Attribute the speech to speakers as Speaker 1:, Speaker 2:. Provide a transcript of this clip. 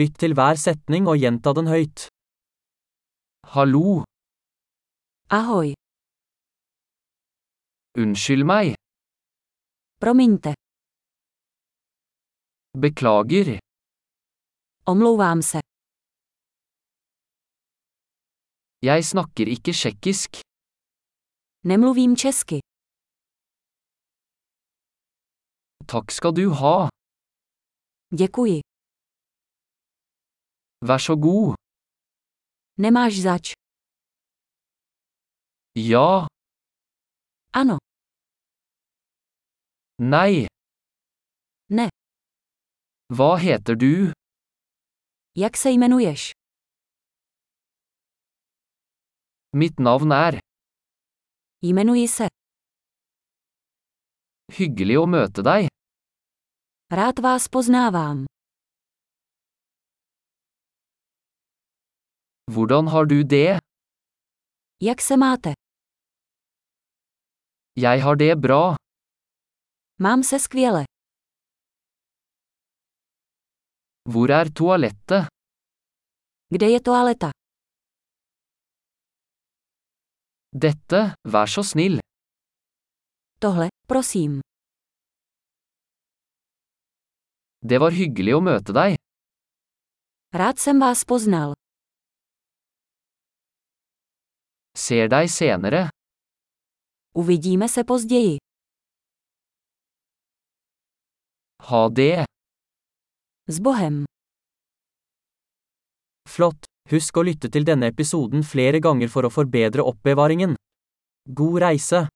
Speaker 1: Lytt til hver setning og gjenta den høyt. Hallo,
Speaker 2: Ahoj,
Speaker 1: unnskyld meg,
Speaker 2: promiňte,
Speaker 1: beklager,
Speaker 2: omlouvám se,
Speaker 1: jeg snakker ikke tsjekkisk,
Speaker 2: nemluvím česky,
Speaker 1: takk skal du ha,
Speaker 2: děkuji,
Speaker 1: vær så god,
Speaker 2: nemáš zač,
Speaker 1: ja,
Speaker 2: ano,
Speaker 1: nei.
Speaker 2: Ne.
Speaker 1: Hva heter du?
Speaker 2: jak se jmenuješ?
Speaker 1: Mitt navn er,
Speaker 2: Jmenuji se,
Speaker 1: hyggelig å møte deg,
Speaker 2: rád vás poznávám.
Speaker 1: hvordan har du det?
Speaker 2: Jak se máte?
Speaker 1: Jeg har det bra,
Speaker 2: Mám se skvěle.
Speaker 1: hvor er toalettet?
Speaker 2: Kde je toaleta?
Speaker 1: Dette, vær så snill,
Speaker 2: Tohle, prosím.
Speaker 1: det var hyggelig å møte deg,
Speaker 2: Rád jsem vás poznal.
Speaker 1: ser deg senere,
Speaker 2: Uvidíme se později.
Speaker 1: ha det,
Speaker 2: S Bohem.
Speaker 1: flott, husk å lytte til denne episoden flere ganger for å forbedre oppbevaringen. God reise!